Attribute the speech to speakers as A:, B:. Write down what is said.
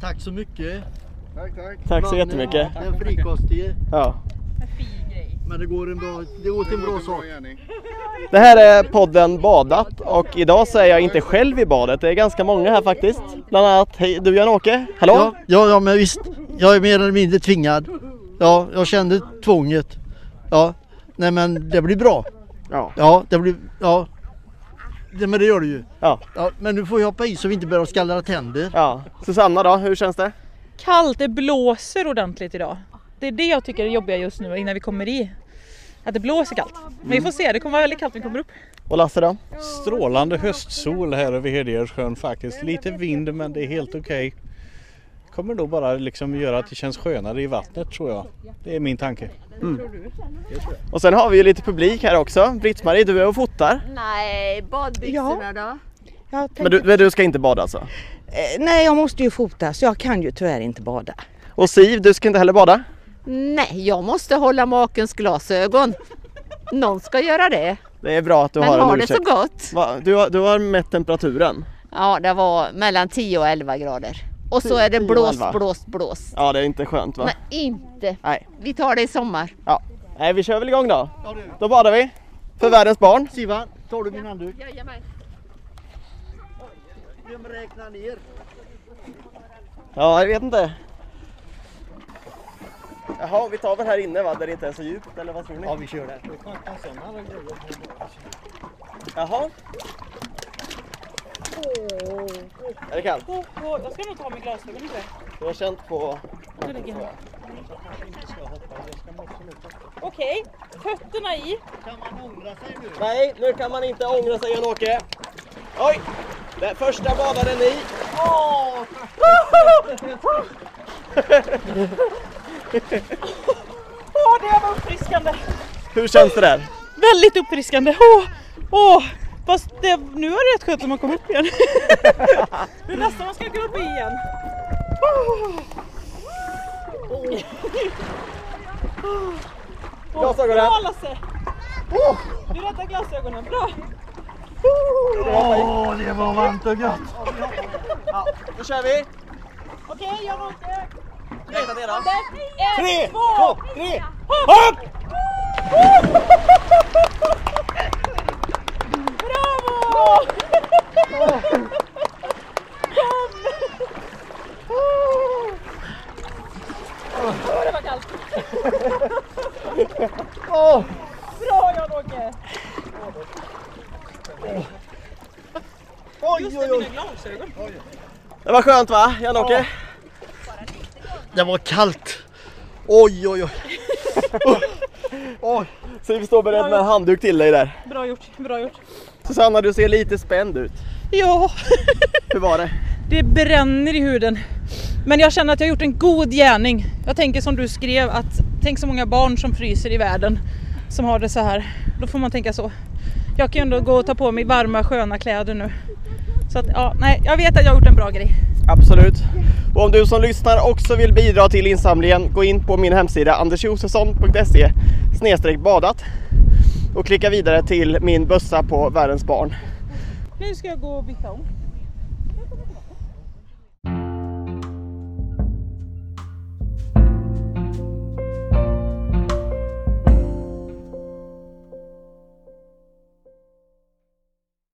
A: Tack så mycket.
B: Tack, tack.
C: Tack så
A: Mannen,
C: jättemycket.
A: Den frikostiga.
C: Ja.
D: En fin grej.
A: Men det går en bra, det går till en bra sak.
C: Det här är podden Badat och idag så är jag inte själv i badet. Det är ganska många här faktiskt. Bland annat hej, du Jan-Åke. Hallå?
A: Ja, ja, ja, men visst. Jag är mer eller mindre tvingad. Ja, jag kände tvånget. Ja, nej men det blir bra.
C: Ja.
A: Ja, det blir, ja. Det, men det gör det ju.
C: ja.
A: Ja, men nu får jag hoppa i så vi inte börjar skallra tänder.
C: Ja. Susanna då, hur känns det?
D: Kallt, det blåser ordentligt idag. Det är det jag tycker är jobbiga just nu innan vi kommer i. Att det blåser kallt. Men vi får se, det kommer vara väldigt kallt när vi kommer upp.
C: Och Lasse då?
E: Strålande höstsol här över Hedjersjön faktiskt. Lite vind men det är helt okej. Kommer då bara liksom göra att det känns skönare i vattnet tror jag. Det är min tanke.
C: Och sen har vi ju lite publik här också. Britt-Marie, du är och fotar.
F: Nej, badbyxorna då?
G: Jag
C: Men du, men du ska inte bada alltså?
G: tänkte- eh, nej, jag måste ju fota så jag kan ju tyvärr inte bada.
C: Och Siv, du ska inte heller bada?
F: Nej, jag måste hålla makens glasögon. Någon ska göra det.
C: Det är bra att du
F: Men
C: har en
F: har det
C: ursäkt.
F: så gott.
C: Va? Du, har, du har mätt temperaturen?
F: Ja, det var mellan 10 och 11 grader. Och så är det
C: 10 och
F: blåst,
C: 11.
F: blåst, blåst.
C: Ja, det är inte skönt va?
F: Nej, inte.
C: Nej.
F: Vi tar det i sommar.
C: Ja. Nej, vi kör väl igång då. Då badar vi. För världens barn.
A: Sivan, tar du min handduk?
F: Jajamän.
A: Vem räknar ner?
C: Ja, jag vet inte. Jaha, vi tar väl här inne va, där det inte är så djupt eller vad tror ni?
A: Ja, vi kör det.
C: Jaha. Är det kallt?
D: Jag ska nog ta min glasögon inte.
C: Du har känt på...
D: Okej, fötterna i.
A: Kan man ångra sig nu?
C: Nej, nu kan man inte ångra sig Jan-Åke. Oj! Den första badaren i.
D: Åh, det var uppfriskande.
C: Hur känns det där?
D: Väldigt uppfriskande. Åh, åh. Fast det, nu var det rätt skönt när man kom upp igen. det är nästan man ska gå upp igen.
C: Glasögonen.
D: Bra Lasse! Du räddade glasögonen, bra!
A: Åh, det var varmt och gött!
C: Nu kör vi!
D: Okej, jag åker!
C: Räkna ner då.
D: Ett,
C: Tre,
D: två,
C: två, tre!
D: hopp! Bravo! Åh, det var kallt! Bra Jan-Åke!
A: Oj,
D: Just
A: oj,
D: det,
A: oj!
D: mina glasögon.
C: Det var skönt va, Jan-Åke?
A: Det var kallt! Oj, oj, oj!
C: Oj! Siv står beredd med en handduk till dig där.
D: Bra gjort, bra gjort.
C: Susanna, du ser lite spänd ut.
D: Ja,
C: Hur var det?
D: det bränner i huden. Men jag känner att jag har gjort en god gärning. Jag tänker som du skrev att tänk så många barn som fryser i världen som har det så här. Då får man tänka så. Jag kan ju ändå gå och ta på mig varma sköna kläder nu. Så att, ja, nej, jag vet att jag har gjort en bra grej.
C: Absolut. Och om du som lyssnar också vill bidra till insamlingen, gå in på min hemsida andersjosefsson.se snedstreck badat och klicka vidare till min bössa på Världens barn.
D: Nu ska jag gå och byta om.